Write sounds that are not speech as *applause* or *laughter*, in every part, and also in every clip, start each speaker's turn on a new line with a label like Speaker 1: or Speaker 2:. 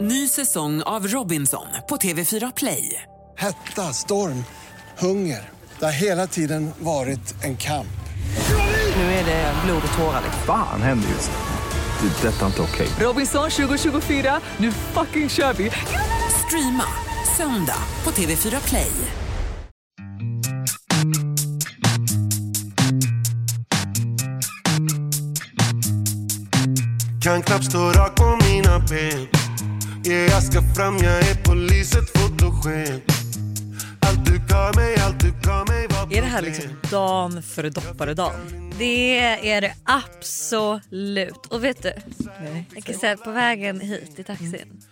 Speaker 1: Ny säsong av Robinson på TV4 Play.
Speaker 2: Hetta, storm, hunger. Det har hela tiden varit en kamp.
Speaker 1: Nu är det blod och tårar. liksom.
Speaker 3: Fan händer just nu. Det. är Detta är inte okej.
Speaker 1: Robinson 2024, nu fucking kör vi! Streama söndag på TV4 Play.
Speaker 4: Kan knappt stå rak på mina ben Yeah, jag ska fram, jag är polis, ett fotogen Allt du gav mig, allt du gav mig var
Speaker 5: Är det här
Speaker 4: problem.
Speaker 5: liksom dan före doppare-dan?
Speaker 6: Det är det absolut. Och vet du,
Speaker 5: Nej.
Speaker 6: jag kan säga att på vägen hit i taxin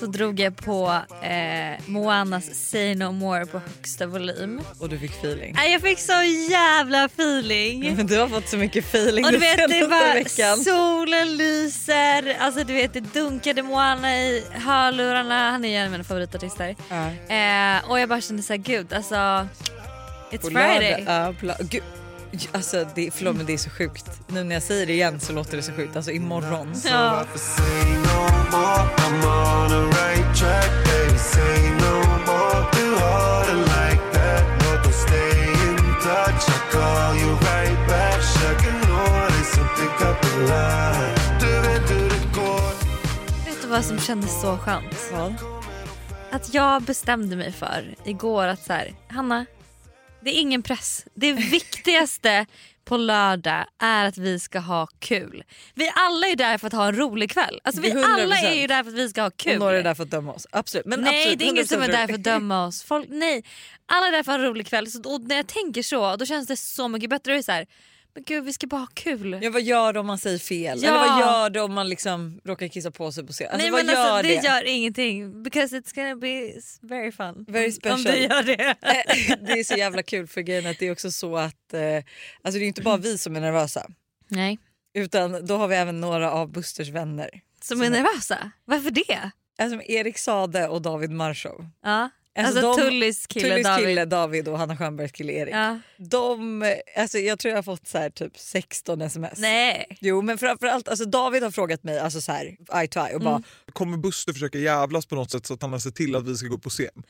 Speaker 6: så drog jag på eh, Moanas Say No More på högsta volym.
Speaker 5: Och du fick feeling? *laughs*
Speaker 6: Nej, Jag fick så jävla feeling.
Speaker 5: Men du har fått så mycket feeling
Speaker 6: Och du
Speaker 5: den
Speaker 6: vet
Speaker 5: senaste
Speaker 6: det var
Speaker 5: veckan.
Speaker 6: solen lyser, alltså du vet det dunkade Moana i hörlurarna. Han är ju en av mina favoritartister.
Speaker 5: Ja.
Speaker 6: Eh, och jag bara kände såhär gud alltså, it's
Speaker 5: På
Speaker 6: Friday.
Speaker 5: lördag- Ja, på lö- Gud. Alltså det, förlåt men det är så sjukt. Nu när jag säger det igen så låter det så sjukt. Alltså imorgon.
Speaker 6: Ja.
Speaker 4: Varför say no more? I'm on the right track, baby Say no more, du har det like that Låt oss stay in touch, I call you right back Försöker nå dig, så pick up the line Du vet hur det går
Speaker 6: Vet du vad som kändes så skönt?
Speaker 5: Vad?
Speaker 6: att jag bestämde mig för igår att så här, Hanna, det är ingen press. Det viktigaste *laughs* på lördag är att vi ska ha kul. Vi alla är där för att ha en rolig kväll. Alltså, vi
Speaker 5: Det är 100%.
Speaker 6: alla är ju där för att vi ska ha kul.
Speaker 5: Och några är där för att döma oss. Absolut. Men
Speaker 6: nej
Speaker 5: absolut,
Speaker 6: det är ingen som är
Speaker 5: 100%
Speaker 6: där för att döma oss. Folk, nej, alla är där för att ha en rolig kväll. Så, och när jag tänker så då känns det så mycket bättre. Då är det så här, men gud vi ska bara ha kul.
Speaker 5: Ja, vad gör du om man säger fel?
Speaker 6: Ja.
Speaker 5: Eller vad gör du om man liksom råkar kissa på sig på scen? Alltså,
Speaker 6: nej
Speaker 5: vad
Speaker 6: men
Speaker 5: gör
Speaker 6: alltså,
Speaker 5: det? *laughs*
Speaker 6: det gör ingenting because it's gonna be very fun.
Speaker 5: Very
Speaker 6: Om
Speaker 5: special. Eh,
Speaker 6: du gör det.
Speaker 5: det är så jävla kul för grejen att det är också så att eh, alltså det är inte bara vi som är nervösa
Speaker 6: Nej.
Speaker 5: utan då har vi även några av Busters vänner.
Speaker 6: *laughs* Som är nervösa? Varför det?
Speaker 5: Alltså Erik Sade och David Marshov.
Speaker 6: Ja.
Speaker 5: Alltså,
Speaker 6: Alltså,
Speaker 5: de-
Speaker 6: Tullis kille
Speaker 5: Tullis
Speaker 6: David.
Speaker 5: kille David och Hanna Stjernbergs kille Erik.
Speaker 6: Ja.
Speaker 5: De, eh, alltså jag tror jag har fått så här typ 16 sms. *laughs*
Speaker 6: Nej.
Speaker 5: Jo men framförallt, alltså David har frågat mig alltså så här, eye to eye och
Speaker 6: Mm.
Speaker 5: bara
Speaker 7: kommer Buster försöka jävlas på något sätt så att han har sett till att vi ska gå upp på scen.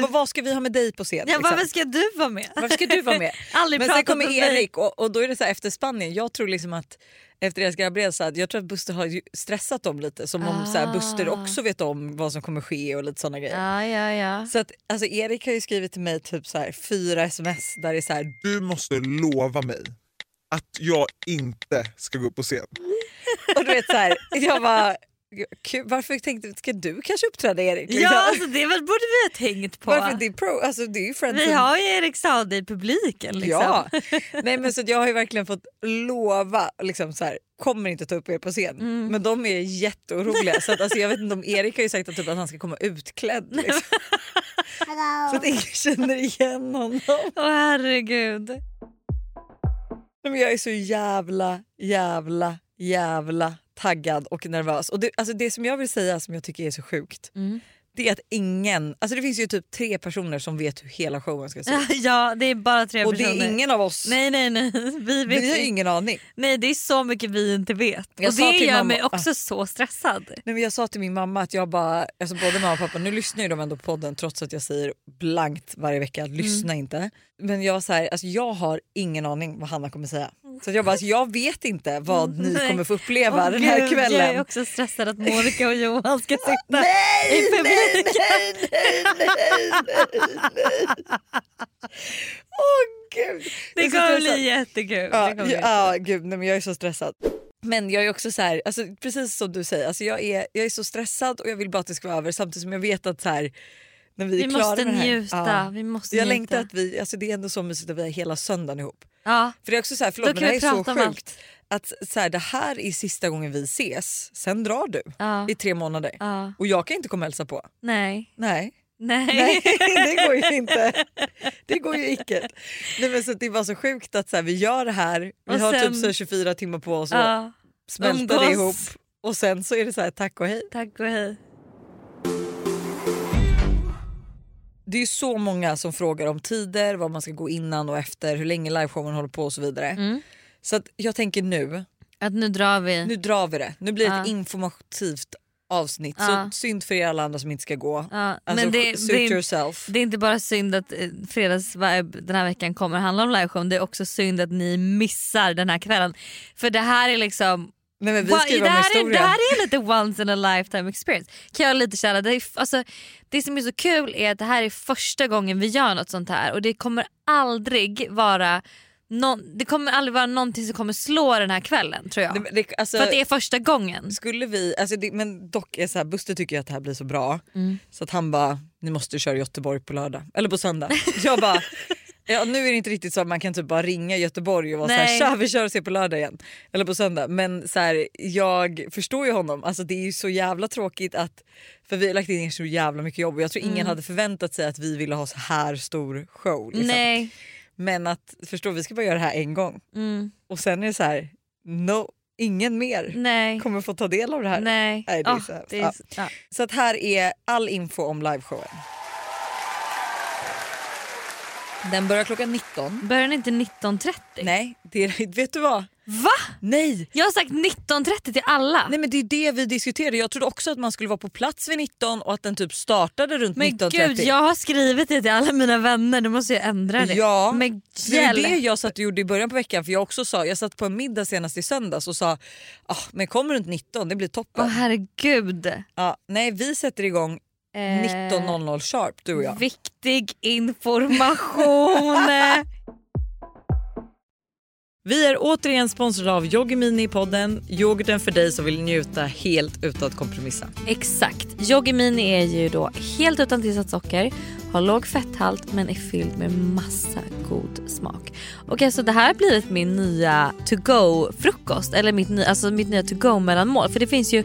Speaker 5: "Men vad ska vi ha med dig på scen?
Speaker 6: Ja,
Speaker 5: liksom?
Speaker 6: varför ska du vara med?
Speaker 5: Varför ska du vara med?
Speaker 6: *laughs* Aldrig
Speaker 5: Men sen
Speaker 6: pratat
Speaker 5: kommer
Speaker 6: med mig.
Speaker 5: Erik och, och då är det så här efter Spanien. Jag tror liksom att efter deras grabbresa, jag tror att Buster har ju stressat dem lite som om så här, Buster också vet om vad som kommer ske och lite sådana grejer.
Speaker 6: Ah. Ja, ja, ja.
Speaker 5: Så att alltså, Erik har ju skrivit till mig typ så här, fyra sms där det är så här,
Speaker 7: Du måste lova mig att jag inte ska gå upp på scen.
Speaker 5: och du vet så här, jag bara "Gud, varför tänkte ska du kanske uppträda Erik? Liksom.
Speaker 6: Ja, alltså, det väl borde vi ha tänkt på.
Speaker 5: Varför det är pro, alltså det är ju friends
Speaker 6: Vi
Speaker 5: with
Speaker 6: har ju Erik Saade i publiken. Liksom.
Speaker 5: Ja. Nej, men så att jag har ju verkligen fått lova, liksom så här, kommer inte ta upp er på scen.
Speaker 6: Mm.
Speaker 5: Men de är jätteoroliga. så att, alltså, jag vet inte om Erik har ju sagt att, typ, att han ska komma utklädd.
Speaker 6: *laughs*
Speaker 5: Liksom. så att ingen känner igen honom.
Speaker 6: Åh herregud. *laughs*
Speaker 5: Nej, Men jag är så jävla, jävla, jävla taggad och nervös. Och det, alltså, det som jag vill säga som jag tycker är så sjukt
Speaker 6: Mm.
Speaker 5: det är att ingen, alltså det finns ju typ tre personer som vet hur hela showen ska se ut.
Speaker 6: Ja, Ah, det är bara tre
Speaker 5: Och det
Speaker 6: personer.
Speaker 5: är ingen av oss.
Speaker 6: Nej, nej, nej. Vi vet
Speaker 5: Vi har
Speaker 6: inte.
Speaker 5: ingen aning.
Speaker 6: Nej, det är så mycket vi inte vet.
Speaker 5: Jag
Speaker 6: och
Speaker 5: sa
Speaker 6: det
Speaker 5: till
Speaker 6: gör
Speaker 5: mamma- "Ah."
Speaker 6: mig också så stressad.
Speaker 5: Nej, men jag sa till min mamma att jag bara, alltså både mamma och pappa, nu lyssnar ju de ändå på podden trots att jag säger blankt varje vecka att lyssna
Speaker 6: Mm.
Speaker 5: inte. Men jag var så här, alltså jag har ingen aning vad Hanna kommer säga. Så att jag bara, alltså jag vet inte
Speaker 6: *laughs*
Speaker 5: vad ni
Speaker 6: Nej.
Speaker 5: kommer få uppleva
Speaker 6: Åh,
Speaker 5: den här
Speaker 6: gud, Jag är
Speaker 5: kvällen.
Speaker 6: också stressad att Monica och Johan
Speaker 5: *laughs*
Speaker 6: ska sitta i
Speaker 5: Nej,
Speaker 6: publiken.
Speaker 5: Åh gud!
Speaker 6: Det
Speaker 5: Jag är så
Speaker 6: kommer
Speaker 5: stressad.
Speaker 6: bli jättekul.
Speaker 5: Ja,
Speaker 6: det kommer bli
Speaker 5: ja, ja, gud, nej, men jag är så stressad. Men jag är också så här, alltså, precis som du säger, alltså, jag, är, jag är så stressad och jag vill bara att det ska vara över samtidigt som jag vet att så här, när vi är
Speaker 6: Vi
Speaker 5: klara
Speaker 6: måste
Speaker 5: med det här,
Speaker 6: njuta,
Speaker 5: ja.
Speaker 6: vi måste
Speaker 5: jag
Speaker 6: njuta.
Speaker 5: längtar att vi, alltså, det är ändå så mysigt att vi har hela söndagen ihop.
Speaker 6: Ja.
Speaker 5: För det är också så här,
Speaker 6: Då
Speaker 5: förlåt
Speaker 6: kan
Speaker 5: men det
Speaker 6: vi
Speaker 5: här är så
Speaker 6: prata om allt.
Speaker 5: sjukt. Att så här, det här är sista gången vi ses, sen drar du
Speaker 6: Ja.
Speaker 5: i tre månader.
Speaker 6: Ja.
Speaker 5: Och jag kan inte komma och hälsa på.
Speaker 6: Nej.
Speaker 5: Nej.
Speaker 6: *laughs* Nej.
Speaker 5: Nej, det går ju inte. Det går ju icke. Nej, men så att det var så sjukt att så här, vi gör det här, vi
Speaker 6: Och
Speaker 5: har
Speaker 6: sen-
Speaker 5: typ så här 24 timmar på oss att
Speaker 6: Ja.
Speaker 5: smälta det
Speaker 6: umgås.
Speaker 5: ihop och sen så är det så här tack och hej.
Speaker 6: Tack och hej.
Speaker 5: Det är ju så många som frågar om tider, vad man ska gå innan och efter, hur länge liveshowen håller på och så vidare.
Speaker 6: Mm.
Speaker 5: Så att jag tänker nu,
Speaker 6: Att nu drar vi.
Speaker 5: nu drar vi det. Nu blir det
Speaker 6: Ja.
Speaker 5: ett informativt avsnitt.
Speaker 6: Ja.
Speaker 5: Så synd för er alla andra som inte ska gå.
Speaker 6: Ja,
Speaker 5: Alltså,
Speaker 6: men det,
Speaker 5: suit
Speaker 6: det, är,
Speaker 5: yourself.
Speaker 6: det är inte bara synd att eh, Fredagsvibe den här veckan kommer handla om liveshowen, det är också synd att ni missar den här kvällen. För det här är liksom
Speaker 5: Nej, men vi
Speaker 6: Va-
Speaker 5: skriver
Speaker 6: det,
Speaker 5: om
Speaker 6: här är, det
Speaker 5: historia.
Speaker 6: här är lite once in a lifetime experience. Kan jag lite känna. Det, är, f- alltså, det som är så kul är att det här är första gången vi gör något sånt här och det kommer aldrig vara någon, det kommer aldrig vara någonting som kommer slå den här kvällen tror jag.
Speaker 5: Nej, men det, alltså,
Speaker 6: För att det är första gången.
Speaker 5: Skulle vi, alltså det, men dock är så här, Buster tycker ju att det här blir så bra
Speaker 6: Mm.
Speaker 5: så att han bara, ni måste köra Göteborg på lördag, eller på söndag. Jag
Speaker 6: *laughs*
Speaker 5: bara, ja, nu är det inte riktigt så att man kan typ bara ringa Göteborg och vara så här,
Speaker 6: Nej.
Speaker 5: tja vi kör och ser på lördag igen. Eller på söndag. Men så här, jag förstår ju honom, alltså det är ju så jävla tråkigt att, för vi har lagt in så jävla mycket jobb och jag tror ingen
Speaker 6: Mm.
Speaker 5: hade förväntat sig att vi ville ha så här stor show. Liksom.
Speaker 6: Nej.
Speaker 5: Men att förstå, vi ska bara göra det här en gång
Speaker 6: Mm.
Speaker 5: och sen är det så här, no, ingen mer
Speaker 6: Nej.
Speaker 5: kommer få ta del av det här.
Speaker 6: Nej.
Speaker 5: Nej, det är
Speaker 6: Ah,
Speaker 5: så hemskt.
Speaker 6: det är
Speaker 5: Ja.
Speaker 6: så- ja.
Speaker 5: Så att här är all info om liveshowen. Den börjar klockan 19.
Speaker 6: Börjar den inte 19.30?
Speaker 5: Nej, det är, *laughs* vet du vad?
Speaker 6: Va?
Speaker 5: Nej!
Speaker 6: Jag har sagt 19.30 till alla.
Speaker 5: Nej men det är det vi diskuterade. Jag trodde också att man skulle vara på plats vid 19 och att den typ startade runt
Speaker 6: men
Speaker 5: 19.30.
Speaker 6: gud jag har skrivit det till alla mina vänner, nu måste jag ändra det.
Speaker 5: Ja,
Speaker 6: men
Speaker 5: Det är
Speaker 6: hjälp.
Speaker 5: det jag satt och gjorde i början på veckan för jag också sa, jag satt på en middag senast i söndags och sa ah, men kom runt 19, det blir
Speaker 6: Åh
Speaker 5: toppen.
Speaker 6: herregud. Eh,
Speaker 5: Ja, nej vi sätter igång 19.00 sharp du och jag.
Speaker 6: Eh, Viktig information.
Speaker 5: Vi är återigen sponsrade av Yoggi Mini i podden. Yoghurten för dig som vill njuta helt utan att kompromissa.
Speaker 6: *laughs* Exakt. Yoggi Mini är ju då helt utan tillsatt socker, har låg fetthalt men är fylld med massa god smak. Och alltså det här har blivit min nya to-go-frukost, eller mitt, ny, alltså mitt nya to-go-mellanmål. För det finns ju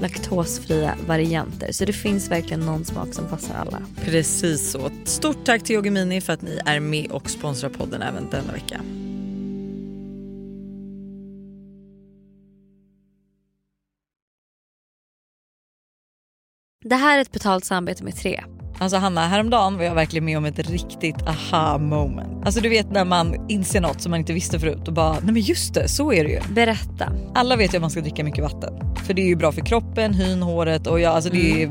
Speaker 6: laktosfria varianter. Så det finns verkligen någon smak som passar alla.
Speaker 5: Precis så. Stort tack till Yoggi Mini för att ni är med och sponsrar podden även denna vecka.
Speaker 6: Det här är ett betalt samarbete med tre.
Speaker 5: Alltså Hanna, häromdagen var jag verkligen med om ett riktigt aha moment. Alltså du vet när man inser något som man inte visste förut och bara, nej men just det, så är det ju.
Speaker 6: Berätta.
Speaker 5: Alla vet ju att man ska dricka mycket vatten. För det är ju bra för kroppen, hyn, håret och ja, alltså det, är,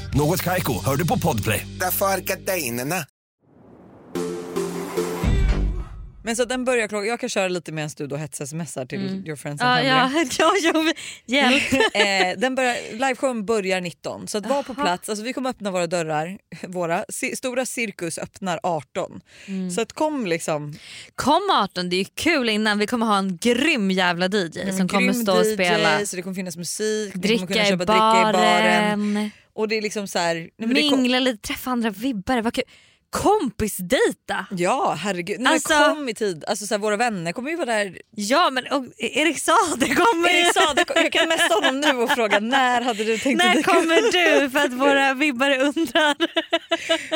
Speaker 8: Något Kaiko, hör du på Podplay.
Speaker 9: Därför är gardinerna.
Speaker 5: Men så att den börjar klockan, jag kan köra lite medan du då hetsmsar till your friends and
Speaker 6: Mm. Ja,
Speaker 5: family.
Speaker 6: ja, ja, *laughs* ja, *laughs* hjälp.
Speaker 5: *laughs* eh, den börjar, liveshowen börjar 19 så att var på plats. Alltså, vi kommer öppna våra dörrar. Våra, ci- stora cirkus öppnar 18.
Speaker 6: Mm.
Speaker 5: Så att kom liksom.
Speaker 6: Kom 18, det är ju kul innan. Vi kommer ha en grym jävla DJ som kommer
Speaker 5: Grym
Speaker 6: stå och
Speaker 5: DJ,
Speaker 6: spela.
Speaker 5: Så det kommer finnas musik, ni kommer
Speaker 6: Dricka
Speaker 5: kunna
Speaker 6: i
Speaker 5: köpa dricka i baren.
Speaker 6: baren,
Speaker 5: Och det är liksom så här, nej, men det kom,
Speaker 6: mingla lite, träffa andra vibbar. Vad kul. kompisdejta.
Speaker 5: Ja herregud, när
Speaker 6: Alltså-
Speaker 5: kom i tid. Alltså, så här, våra vänner kommer ju vara där.
Speaker 6: Ja men och Erik Saade kommer ju.
Speaker 5: Erik Saade, jag kan messa honom nu och fråga när hade du tänkt
Speaker 6: *laughs* När
Speaker 5: att dyka upp?
Speaker 6: kommer du? För
Speaker 5: *laughs*
Speaker 6: att våra vibbare undrar.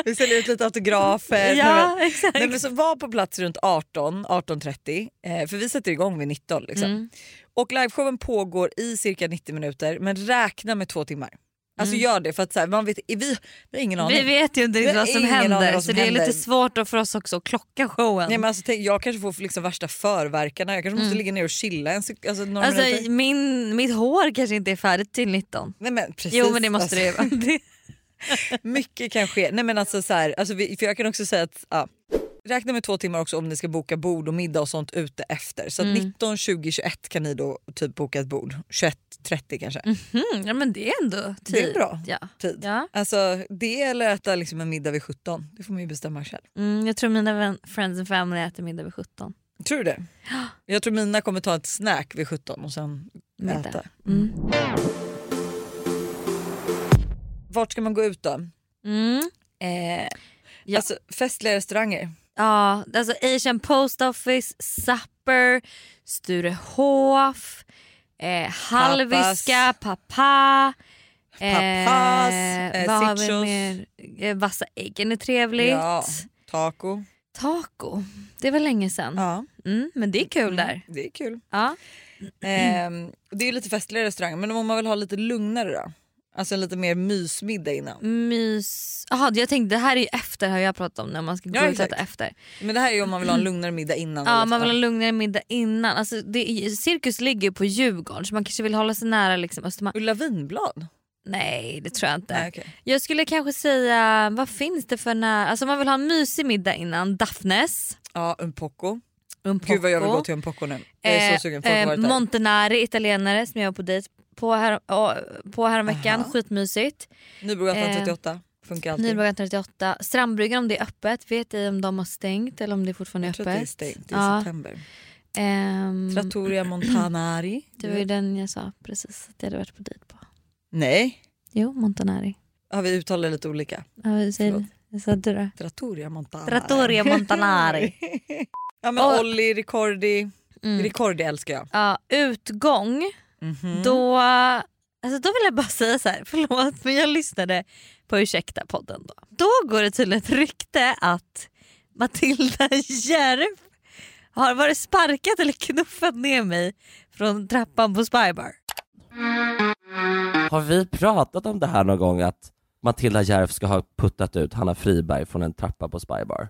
Speaker 5: Vi säljer ut lite autografer. Nej,
Speaker 6: ja
Speaker 5: men-
Speaker 6: *laughs* exakt.
Speaker 5: Nej, men så var på plats runt 18, 18.30 eh, för vi sätter igång vid 19. Liksom.
Speaker 6: Mm.
Speaker 5: Och liveshowen pågår i cirka 90 minuter men räkna med två timmar. Alltså gör det för att så här, man vet, vi, vi har ingen aning.
Speaker 6: Mm. Vi vet ju inte
Speaker 5: Vi har
Speaker 6: riktigt vad som
Speaker 5: ingen aning
Speaker 6: händer
Speaker 5: vad som
Speaker 6: så det är
Speaker 5: händer.
Speaker 6: lite svårt då för oss också att klocka showen.
Speaker 5: Nej, men alltså, tänk, jag kanske får liksom värsta förverkarna, jag kanske måste ligga ner och chilla en sek- alltså, några
Speaker 6: Mm. alltså,
Speaker 5: minuter.
Speaker 6: min, mitt hår kanske inte är färdigt till 19.
Speaker 5: Nej, men precis,
Speaker 6: Jo men det måste
Speaker 5: alltså,
Speaker 6: det ju vara.
Speaker 5: *laughs*
Speaker 6: Det-
Speaker 5: Mycket kan ske. Nej, men alltså, så här, alltså, vi, för jag kan också säga att ja, räkna med två timmar också om ni ska boka bord och middag och sånt ute efter. Så att
Speaker 6: Mm.
Speaker 5: 19, 20, 21 kan ni då typ boka ett bord. 21, 30 kanske.
Speaker 6: Mm, ja men det är ändå tid.
Speaker 5: Det är bra.
Speaker 6: Ja.
Speaker 5: Tid.
Speaker 6: Ja.
Speaker 5: Alltså det eller äta liksom en middag vid 17. Det får man ju bestämma själv.
Speaker 6: Mm, jag tror mina vän, friends and family äter middag vid 17.
Speaker 5: Tror du det? *gasps* Jag tror mina kommer ta ett snack vid 17 och sen
Speaker 6: Middag.
Speaker 5: äta.
Speaker 6: Mm.
Speaker 5: Vart ska man gå ut då?
Speaker 6: Mm.
Speaker 5: Eh,
Speaker 6: Ja.
Speaker 5: Alltså festliga restauranger.
Speaker 6: Ja, alltså Asian Post Office, Supper, Sturehof, eh, Halviska, Papa.
Speaker 5: Papas, eh,
Speaker 6: vad har vi
Speaker 5: Sitchos.
Speaker 6: mer? Eh, Vassa äggen är trevligt.
Speaker 5: Ja.
Speaker 6: Mm.
Speaker 5: Taco.
Speaker 6: Taco, det var länge sedan.
Speaker 5: Ja.
Speaker 6: Mm, men det är kul där.
Speaker 5: Det är kul.
Speaker 6: Ja.
Speaker 5: Ehm, det är ju lite festliga restauranger men om man vill ha lite lugnare då? Alltså en lite mer mysmiddag innan.
Speaker 6: Mys... Aha, jag tänkte det här är ju efter har jag pratat om när man ska gå
Speaker 5: Ja,
Speaker 6: ut och
Speaker 5: exakt.
Speaker 6: äta efter.
Speaker 5: Men det här är ju om man vill ha en lugnare middag innan.
Speaker 6: Ja,
Speaker 5: eller
Speaker 6: man
Speaker 5: efter.
Speaker 6: vill ha en lugnare middag innan. Alltså, det, är- cirkus ligger ju på Djurgården så man kanske vill hålla sig nära liksom, Östermalm.
Speaker 5: Ulla Vinblad?
Speaker 6: Nej det tror jag inte.
Speaker 5: Nej, okej.
Speaker 6: Jag skulle kanske säga, vad finns det för när... Alltså man vill ha en mysig middag innan. Daphnes,
Speaker 5: Ja, en poco.
Speaker 6: Umpocco,
Speaker 5: Gud vad jag vill gå till en poco nu. Jag är
Speaker 6: Eh,
Speaker 5: så sugen. Folk har varit där.
Speaker 6: Montenari, italienare som jag var på dejt på, här, å, på häromveckan. Skitmysigt.
Speaker 5: Nybrogatan
Speaker 6: eh,
Speaker 5: 38 funkar alltid.
Speaker 6: Nybrogatan 38. Strandbryggan om det är öppet. Vet ej om de har stängt eller om det fortfarande är
Speaker 5: Jag tror
Speaker 6: öppet.
Speaker 5: att det är stängt i
Speaker 6: Ja.
Speaker 5: september.
Speaker 6: Ehm,
Speaker 5: Trattoria Montanari.
Speaker 6: *clears throat* det var ju den jag sa precis att jag hade varit på dejt på.
Speaker 5: Nej,
Speaker 6: Jo, Montanari.
Speaker 5: har vi uttalat lite olika.
Speaker 6: Ja, vad säger du? Vad sa du då?
Speaker 5: Trattoria Montanari.
Speaker 6: Trattoria Montanari.
Speaker 5: *laughs* Ja men
Speaker 6: Och- Mm.
Speaker 5: Olli, Ricordi. Ricordi älskar jag.
Speaker 6: ja, utgång,
Speaker 5: Mhm.
Speaker 6: då, alltså då vill jag bara säga så här, förlåt men jag lyssnade på Ursäkta-podden då. Då går det tydligen ett rykte att Matilda Järv har varit sparkat eller knuffat ner mig från trappan på Spybar.
Speaker 10: Har vi pratat om det här någon gång att Matilda Järf ska ha puttat ut Hanna Friberg från en trappa på Spybar?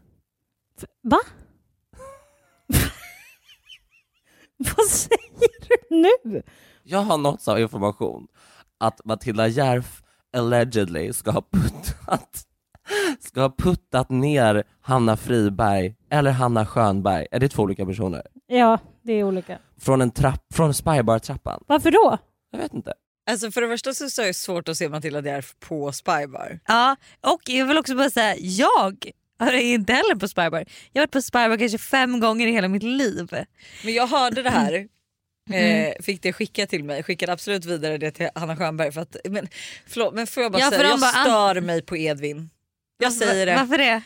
Speaker 11: Va? Vad säger du nu?
Speaker 10: Jag har nåtts av information att Matilda Järf allegedly ska ha puttat ska ha puttat ner Hanna Friberg eller Hanna Schönberg, är det två olika personer?
Speaker 11: Ja, det är olika.
Speaker 10: Från en trapp, från Spybar-trappan?
Speaker 11: Varför då?
Speaker 10: Jag vet inte.
Speaker 5: Alltså för det första så så är det svårt att se Matilda Djerf på Spybar.
Speaker 6: Ja, och jag vill också bara säga, jag är inte heller på Spybar. Jag har varit på Spybar kanske fem gånger i hela mitt liv.
Speaker 5: Men jag hörde det
Speaker 6: *clears throat*
Speaker 5: här.
Speaker 6: Mm.
Speaker 5: Eh, fick det skickat till mig, skickade absolut vidare det till Hanna Stjernberg. För att, men, förlåt, men får jag bara
Speaker 6: Ja, för
Speaker 5: säga,
Speaker 6: de
Speaker 5: jag
Speaker 6: bara- ah.
Speaker 5: stör mig på Edvin. Jag säger det.
Speaker 6: Varför det?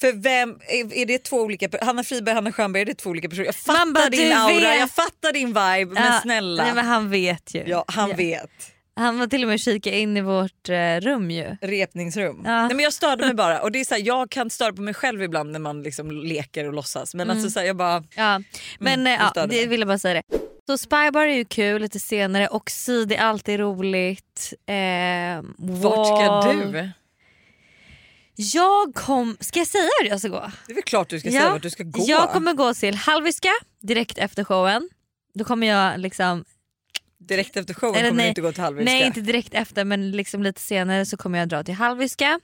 Speaker 5: För vem, är, är det två olika per- Hanna Friberg och Hanna Stjernberg, är det två olika personer? Jag fattar
Speaker 6: Man bara,
Speaker 5: din
Speaker 6: du
Speaker 5: aura,
Speaker 6: vet.
Speaker 5: jag fattar din vibe,
Speaker 6: Ja,
Speaker 5: men snälla.
Speaker 6: Nej, men han vet ju.
Speaker 5: ja, han
Speaker 6: Ja.
Speaker 5: vet.
Speaker 6: Han var till och med och kikade in i vårt eh, rum ju.
Speaker 5: Repningsrum.
Speaker 6: Ja.
Speaker 5: Nej, men jag störde
Speaker 6: *laughs*
Speaker 5: mig bara. Och det är så här, jag kan störa på mig själv ibland när man liksom leker och låtsas. Men
Speaker 6: Mm.
Speaker 5: alltså, så här, jag bara,
Speaker 6: Ja. Men
Speaker 5: Mm,
Speaker 6: eh,
Speaker 5: det
Speaker 6: ja,
Speaker 5: störde
Speaker 6: det
Speaker 5: mig.
Speaker 6: ville jag bara säga det. Så Spybar är ju kul lite senare och Sid är alltid roligt. Eh,
Speaker 5: vart ska
Speaker 6: Wall.
Speaker 5: du?
Speaker 6: Jag kom, ska jag säga hur jag ska gå?
Speaker 5: Det är väl klart du ska säga vart du ska gå.
Speaker 6: Jag kommer gå till Halviska direkt efter showen. Då kommer jag liksom,
Speaker 5: Direkt efter showen
Speaker 6: Eller
Speaker 5: kommer
Speaker 6: nej.
Speaker 5: du inte gå till halvviska.
Speaker 6: nej inte direkt efter men liksom lite senare så kommer jag dra till Halviska.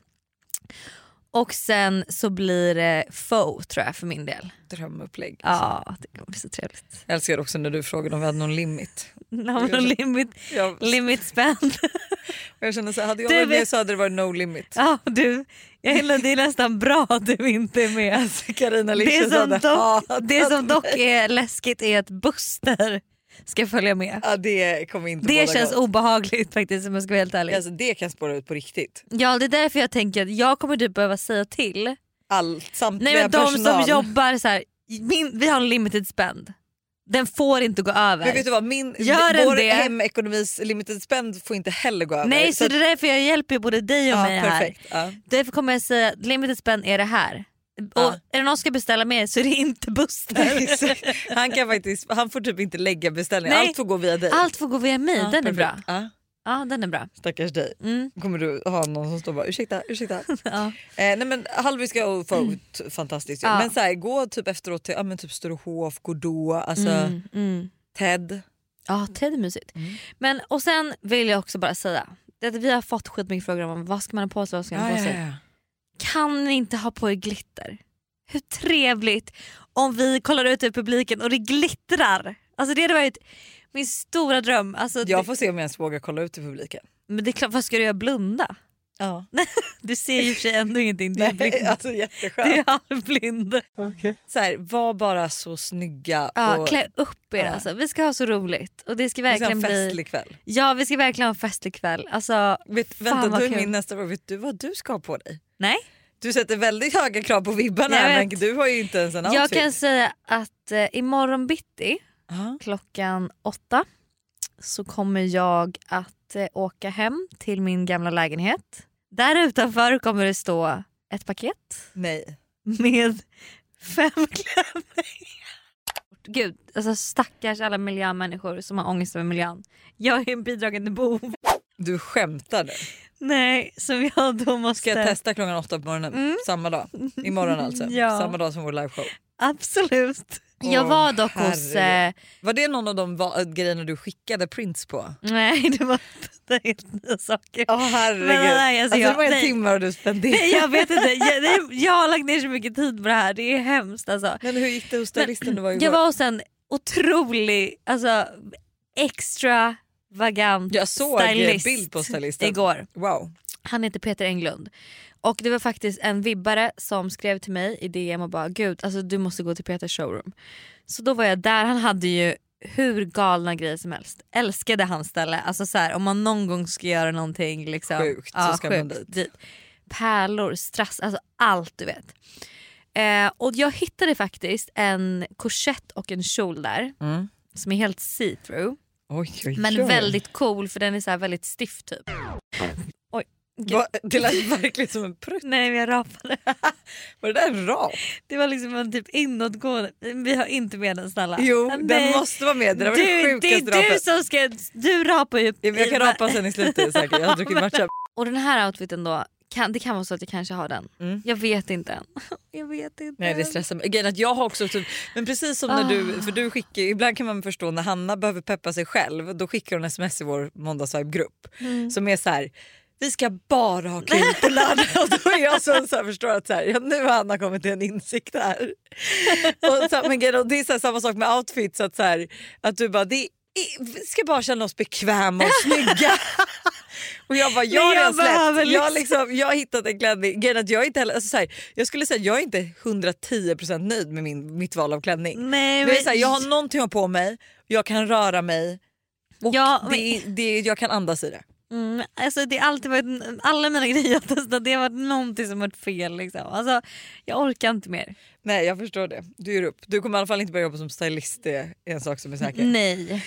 Speaker 6: Och sen så blir det Faux tror jag för min del.
Speaker 5: Drömupplägg.
Speaker 6: Ja, det kommer bli så trevligt.
Speaker 5: Jag älskar också när du frågade om vi hade någon limit.
Speaker 6: *laughs* Namn och limit,
Speaker 5: Jag,
Speaker 6: limit spend. *laughs*
Speaker 5: jag känner så här, hade jag
Speaker 6: Du
Speaker 5: varit med
Speaker 6: vet-
Speaker 5: så hade det varit no limit.
Speaker 6: Ja, du, jag gillar, det är nästan bra att du inte är med.
Speaker 5: *laughs* Carina
Speaker 6: Det
Speaker 5: Lindqvist
Speaker 6: som,
Speaker 5: hade
Speaker 6: dock,
Speaker 5: hatat
Speaker 6: det som dock
Speaker 5: mig.
Speaker 6: är läskigt är att Buster ska följa med.
Speaker 5: Ja, det kommer inte
Speaker 6: det
Speaker 5: båda
Speaker 6: känns
Speaker 5: gott.
Speaker 6: obehagligt faktiskt om jag ska vara helt ärlig.
Speaker 5: Alltså, det kan spåra ut på riktigt.
Speaker 6: Ja det är därför jag tänker att jag kommer typ behöva säga till.
Speaker 5: Allt, samtliga
Speaker 6: Nej men de
Speaker 5: personal.
Speaker 6: som jobbar så här, min, vi har en limited spend. Den får inte gå över.
Speaker 5: Men vet du vad, min,
Speaker 6: Gör den
Speaker 5: vår
Speaker 6: det?
Speaker 5: hemekonomis limited spend får inte heller gå över.
Speaker 6: Nej så, det är därför jag hjälper både dig och
Speaker 5: ja,
Speaker 6: mig här.
Speaker 5: perfekt. Ja. *laughs*
Speaker 6: Därför kommer jag säga att limited spend är det här. Och är det någon som ska beställa mer så är det
Speaker 5: *laughs*
Speaker 6: inte Buster.
Speaker 5: Exakt. han, kan faktiskt, han får typ inte lägga beställningar,
Speaker 6: Nej.
Speaker 5: allt får gå via dig.
Speaker 6: Allt får gå via mig,
Speaker 5: Ja,
Speaker 6: den är
Speaker 5: perfekt.
Speaker 6: bra.
Speaker 5: Ja.
Speaker 6: Ja den är bra.
Speaker 5: Stackars dig.
Speaker 6: Mm.
Speaker 5: Kommer du ha någon som står och bara ursäkta, ursäkta.
Speaker 6: *laughs* Ja. Mm.
Speaker 5: eh, nej men halviska och Fout, fantastiskt. ju.
Speaker 6: Ja.
Speaker 5: Men så här, gå typ efteråt till ja, men typ Sturehof, Godot, alltså
Speaker 6: Mm, mm.
Speaker 5: Ted.
Speaker 6: Ja, Ted är mysigt.
Speaker 5: Mm.
Speaker 6: Men, och sen vill jag också bara säga, det att vi har fått skitmycket frågor om vad ska man ha på sig, vad ska man ha på sig. Kan ni inte ha på er glitter? Hur trevligt om vi kollar ut i publiken och det glittrar. Alltså det hade varit min stora dröm. Alltså, det,
Speaker 5: Jag får se om jag ens vågar kolla ut i publiken.
Speaker 6: Men det är klart, vad ska du göra? Blunda?
Speaker 5: Ja.
Speaker 6: Du ser ju i och för sig ändå ingenting. Du är blind.
Speaker 5: *laughs* alltså
Speaker 6: Du är
Speaker 5: jätteskönt.
Speaker 6: halvblind.
Speaker 5: Så här, var bara så snygga.
Speaker 6: Ja,
Speaker 5: och,
Speaker 6: klä upp er
Speaker 5: Ja.
Speaker 6: alltså. Vi ska ha så roligt. Och det
Speaker 5: Det ska
Speaker 6: ska
Speaker 5: vara
Speaker 6: verkligen
Speaker 5: en
Speaker 6: bli...
Speaker 5: festlig kväll.
Speaker 6: Ja vi ska verkligen ha en festlig kväll. Alltså,
Speaker 5: Vet,
Speaker 6: fan
Speaker 5: vänta,
Speaker 6: vad
Speaker 5: du är
Speaker 6: kul.
Speaker 5: min nästa fråga. Vet du vad du ska ha på dig?
Speaker 6: Nej.
Speaker 5: Du sätter väldigt höga krav på vibbarna
Speaker 6: Jag
Speaker 5: här, men
Speaker 6: vet.
Speaker 5: du har ju inte ens en
Speaker 6: Jag
Speaker 5: outfit.
Speaker 6: kan säga att eh, imorgon bitti
Speaker 5: Ja.
Speaker 6: klockan åtta så kommer jag att eh, åka hem till min gamla lägenhet. Där utanför kommer det stå ett paket
Speaker 5: Nej.
Speaker 6: med *laughs* fem klänningar. Gud, alltså stackars alla miljömänniskor som har ångest över miljön. Jag är en bidragande bov.
Speaker 5: Du skämtar nu.
Speaker 6: Nej, som jag då måste...
Speaker 5: Ska jag testa klockan åtta på morgonen samma dag? Imorgon alltså?
Speaker 6: Mm. *laughs* Ja.
Speaker 5: Samma dag som vår liveshow?
Speaker 6: Absolut. jag
Speaker 5: Åh,
Speaker 6: var dock hos...
Speaker 5: herregud.
Speaker 6: Eh,
Speaker 5: Var det någon av de va- äh, grejerna du skickade prints på?
Speaker 6: nej, *laughs* det var det är helt nya saker.
Speaker 5: Åh herregud.
Speaker 6: Men nej,
Speaker 5: alltså,
Speaker 6: alltså,
Speaker 5: det
Speaker 6: jag-
Speaker 5: var en
Speaker 6: nej.
Speaker 5: timme och du spenderade.
Speaker 6: Nej jag vet inte, jag, det- jag har lagt ner så mycket tid på det här, det är hemskt alltså.
Speaker 5: *laughs* Men hur gick det hos
Speaker 6: Men-
Speaker 5: stylisten du var igår?
Speaker 6: Jag var hos en otrolig, alltså extravagant
Speaker 5: jag såg
Speaker 6: stylist
Speaker 5: en bild på stylisten.
Speaker 6: igår.
Speaker 5: Wow.
Speaker 6: Han heter Peter Englund. Och det var faktiskt en vibbare som skrev till mig i DM och bara gud alltså, du måste gå till Peters showroom. Så då var jag där, han hade ju hur galna grejer som helst. Älskade hans ställe. Alltså så här, om man någon gång ska göra någonting liksom.
Speaker 5: Sjukt, så ska man dit.
Speaker 6: Pärlor, strass, alltså allt du vet. Eh, och jag hittade faktiskt en korsett och en kjol där
Speaker 5: Mm.
Speaker 6: som är helt see-through.
Speaker 5: Oj, oj,
Speaker 6: Men
Speaker 5: oj.
Speaker 6: väldigt cool för den är så här väldigt stiff typ. Oj. gud.
Speaker 5: Va, det lät verkligen som en prutt.
Speaker 6: Nej men jag rapade.
Speaker 5: Var det där en rap?
Speaker 6: Det var liksom en typ inåtgående. Vi har inte med den snälla.
Speaker 5: Jo,
Speaker 6: Ah, nej.
Speaker 5: den måste vara med. Det där var
Speaker 6: du,
Speaker 5: det
Speaker 6: det
Speaker 5: sjukaste
Speaker 6: är du
Speaker 5: rapet.
Speaker 6: som ska... Du rapar ju.
Speaker 5: Ja, men Jag kan rapa sen i slutet säkert. Jag har druckit matcha.
Speaker 6: Och den här outfiten då. Kan, det kan vara så att jag kanske har den.
Speaker 5: Mm.
Speaker 6: Jag vet inte än. *laughs* Jag vet inte Ah.
Speaker 5: Nej det
Speaker 6: än.
Speaker 5: stressar mig. Grejen är att jag har också typ, men precis som när du, för du skickar, ibland kan man förstå när Hanna behöver peppa sig själv, då skickar hon sms i vår måndagsvibe-grupp
Speaker 6: Mm.
Speaker 5: som är så här. Vi ska bara ha kul på lördag. *laughs* Och då är jag som så här förstår att så här, ja, nu har Hanna kommit till en insikt
Speaker 6: *laughs*
Speaker 5: här. Och så, här, men grejen är- och det är så här, samma sak med outfits. Att, så här, att du bara, det är, vi ska bara känna oss bekväma och
Speaker 6: *laughs*
Speaker 5: snygga. Och jag bara, jag
Speaker 6: Men
Speaker 5: har
Speaker 6: jag
Speaker 5: redan
Speaker 6: behöver
Speaker 5: släppt. Jag, har
Speaker 6: liksom-
Speaker 5: liksom, jag har hittat en klänning. Grejen är att jag, är inte heller, alltså så här, jag skulle säga att jag är inte 110% nöjd med min, mitt val av klänning.
Speaker 6: Nej,
Speaker 5: Men jag, är så här, jag har någonting att ha på mig, jag kan röra mig och
Speaker 6: Ja, men-
Speaker 5: det, det, jag kan andas i det.
Speaker 6: Mm, alltså det har alltid varit, alla mina grejer jag testat det har varit någonting som varit fel. Liksom. Alltså, jag orkar inte mer.
Speaker 5: Nej jag förstår det. Du ger upp. Du kommer i alla fall inte börja jobba som stylist, det är en sak som är säker.
Speaker 6: Mm. Nej.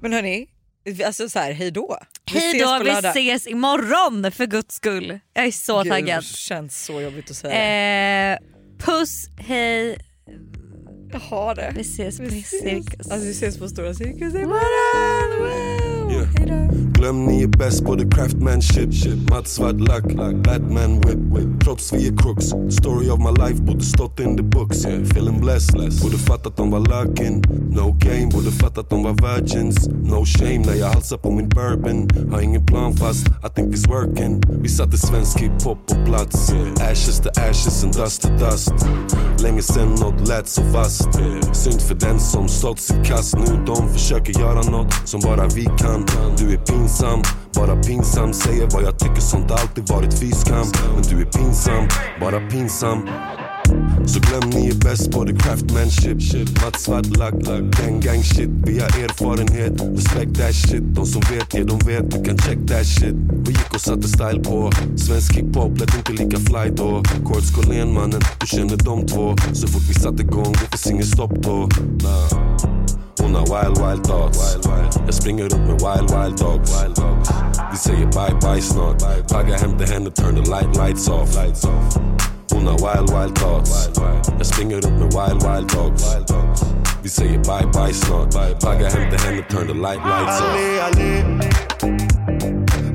Speaker 5: Men hörni, alltså så här, hej då. Vi
Speaker 6: Hej
Speaker 5: ses
Speaker 6: då,
Speaker 5: på
Speaker 6: vi
Speaker 5: lördag.
Speaker 6: ses imorgon för guds skull. Jag är så
Speaker 5: Gud,
Speaker 6: taggad.
Speaker 5: känns så jobbigt att säga.
Speaker 6: Eh, puss, hej.
Speaker 5: Jag har det.
Speaker 6: Vi ses på cirkus.
Speaker 5: Alltså, vi ses på Stora Cirkus imorgon! Wow. Hej då.
Speaker 12: Glöm ni är bäst på the craftmanship shit. Mats Vadlack, Batman whip, whip Trots vi är crooks, story of my life Borde stått in the books, yeah. feeling blessed less. Borde fattat de var löken, no game Borde fattat de var virgins, no shame När jag halsar på min bourbon Har ingen plan fast I think it's working Vi satte svensk hiphop på plats yeah. Ashes to ashes and dust to dust Länge sen något lät så vasst Synd för den som stått sitt kast nu De försöker göra något som bara vi kan Du är pinsam, bara pinsam Säger vad jag tycker, sånt har alltid varit fyskam Men du är pinsam, bara pinsam Så glöm ni är bäst på det craftmanship shit Mats svart lack, lack gang gang shit Vi har erfarenhet, respect that shit De som vet, ja de vet, du kan check that shit Vi gick och satte style på Svensk hiphop lät inte lika fly då Kurt Skåhlén mannen, du känner de två Så fort vi satte igång, det finns inget stopp då nah. Hon har wild wild thoughts Jag springer runt med wild wild dogs Vi säger bye bye snart Pagga hämtar henne, turn the light lights off Hon har wild wild thoughts Jag springer runt med wild wild dogs Vi säger bye bye snart Pagga hämtar henne, turn the light lights off
Speaker 4: Allé, allé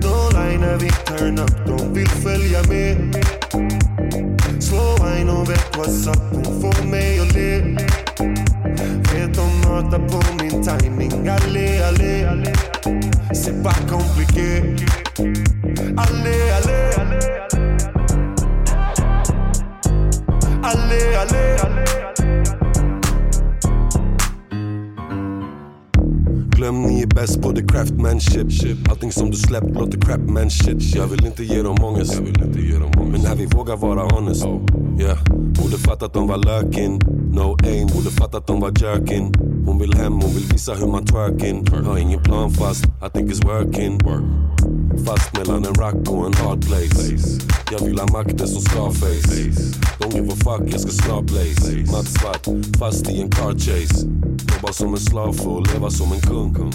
Speaker 4: De liner vi turn up, de vill följa med Slå wine och vet what's up, hon får mig att le Vet de matar på min timing Allé, allé C'est pas compliqué Allé, allé Allé, allé, allé
Speaker 12: Glöm ni är bäst på the craftmanship shit. Allting som du släppt låter crapman shit Jag vill inte ge dem ångest, jag vill inte ge dem ångest. Men när vi vågar vara honest yeah. Borde fatta att de var lökin No aim, borde fatta att de var jerkin Hon vill hem, hon vill visa hur man twerkin Har ingen plan fast, I think it's working Fast mellan en rock och en hard place Jag vill ha makten som Scarface Don't give a fuck, jag ska snart blaze Matt svart, fast i en car chase Jobbar som en slav för att leva som en kung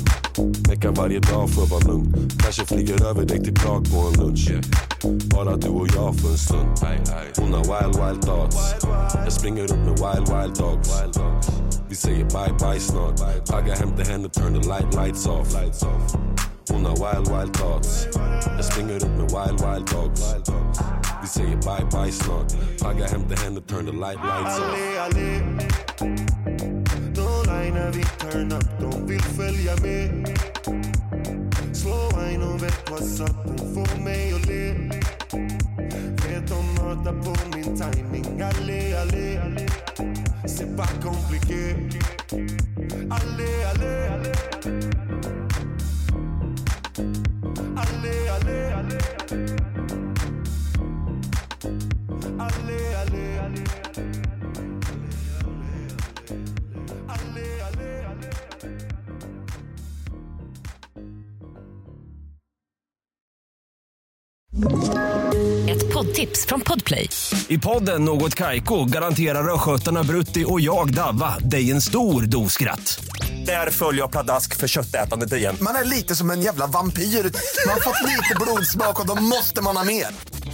Speaker 12: Mecka varje dag för att vara lugn Kanske flyger över dig till Prag på en lunch Bara du och jag för en stund Hon har wild wild thoughts Jag springer runt med wild wild dogs Vi säger bye bye snart Pagga hämtar henne, turn the light lights off Hon har wild wild thoughts Jag springer runt med wild wild dogs Vi säger bye bye snart Pagga hämtar henne, turn the light lights off
Speaker 4: Allé, allé De liner vi turn up, de vill följa med Slå wine och vet what's up, hon får mig att le Vet de matar på min timing Allé, allé C'est pas compliqué Allé, allé, allé Allé, allé, allé Allé, allé, allé
Speaker 13: Ett poddtips från Podplay.
Speaker 8: I podden Något Kaiko garanterar östgötarna Brutti och jag, Davva, dig en stor dos skratt. Där följer jag pladask för köttätandet igen.
Speaker 14: Man är lite som en jävla vampyr. Man har fått lite blodsmak och då måste man ha mer.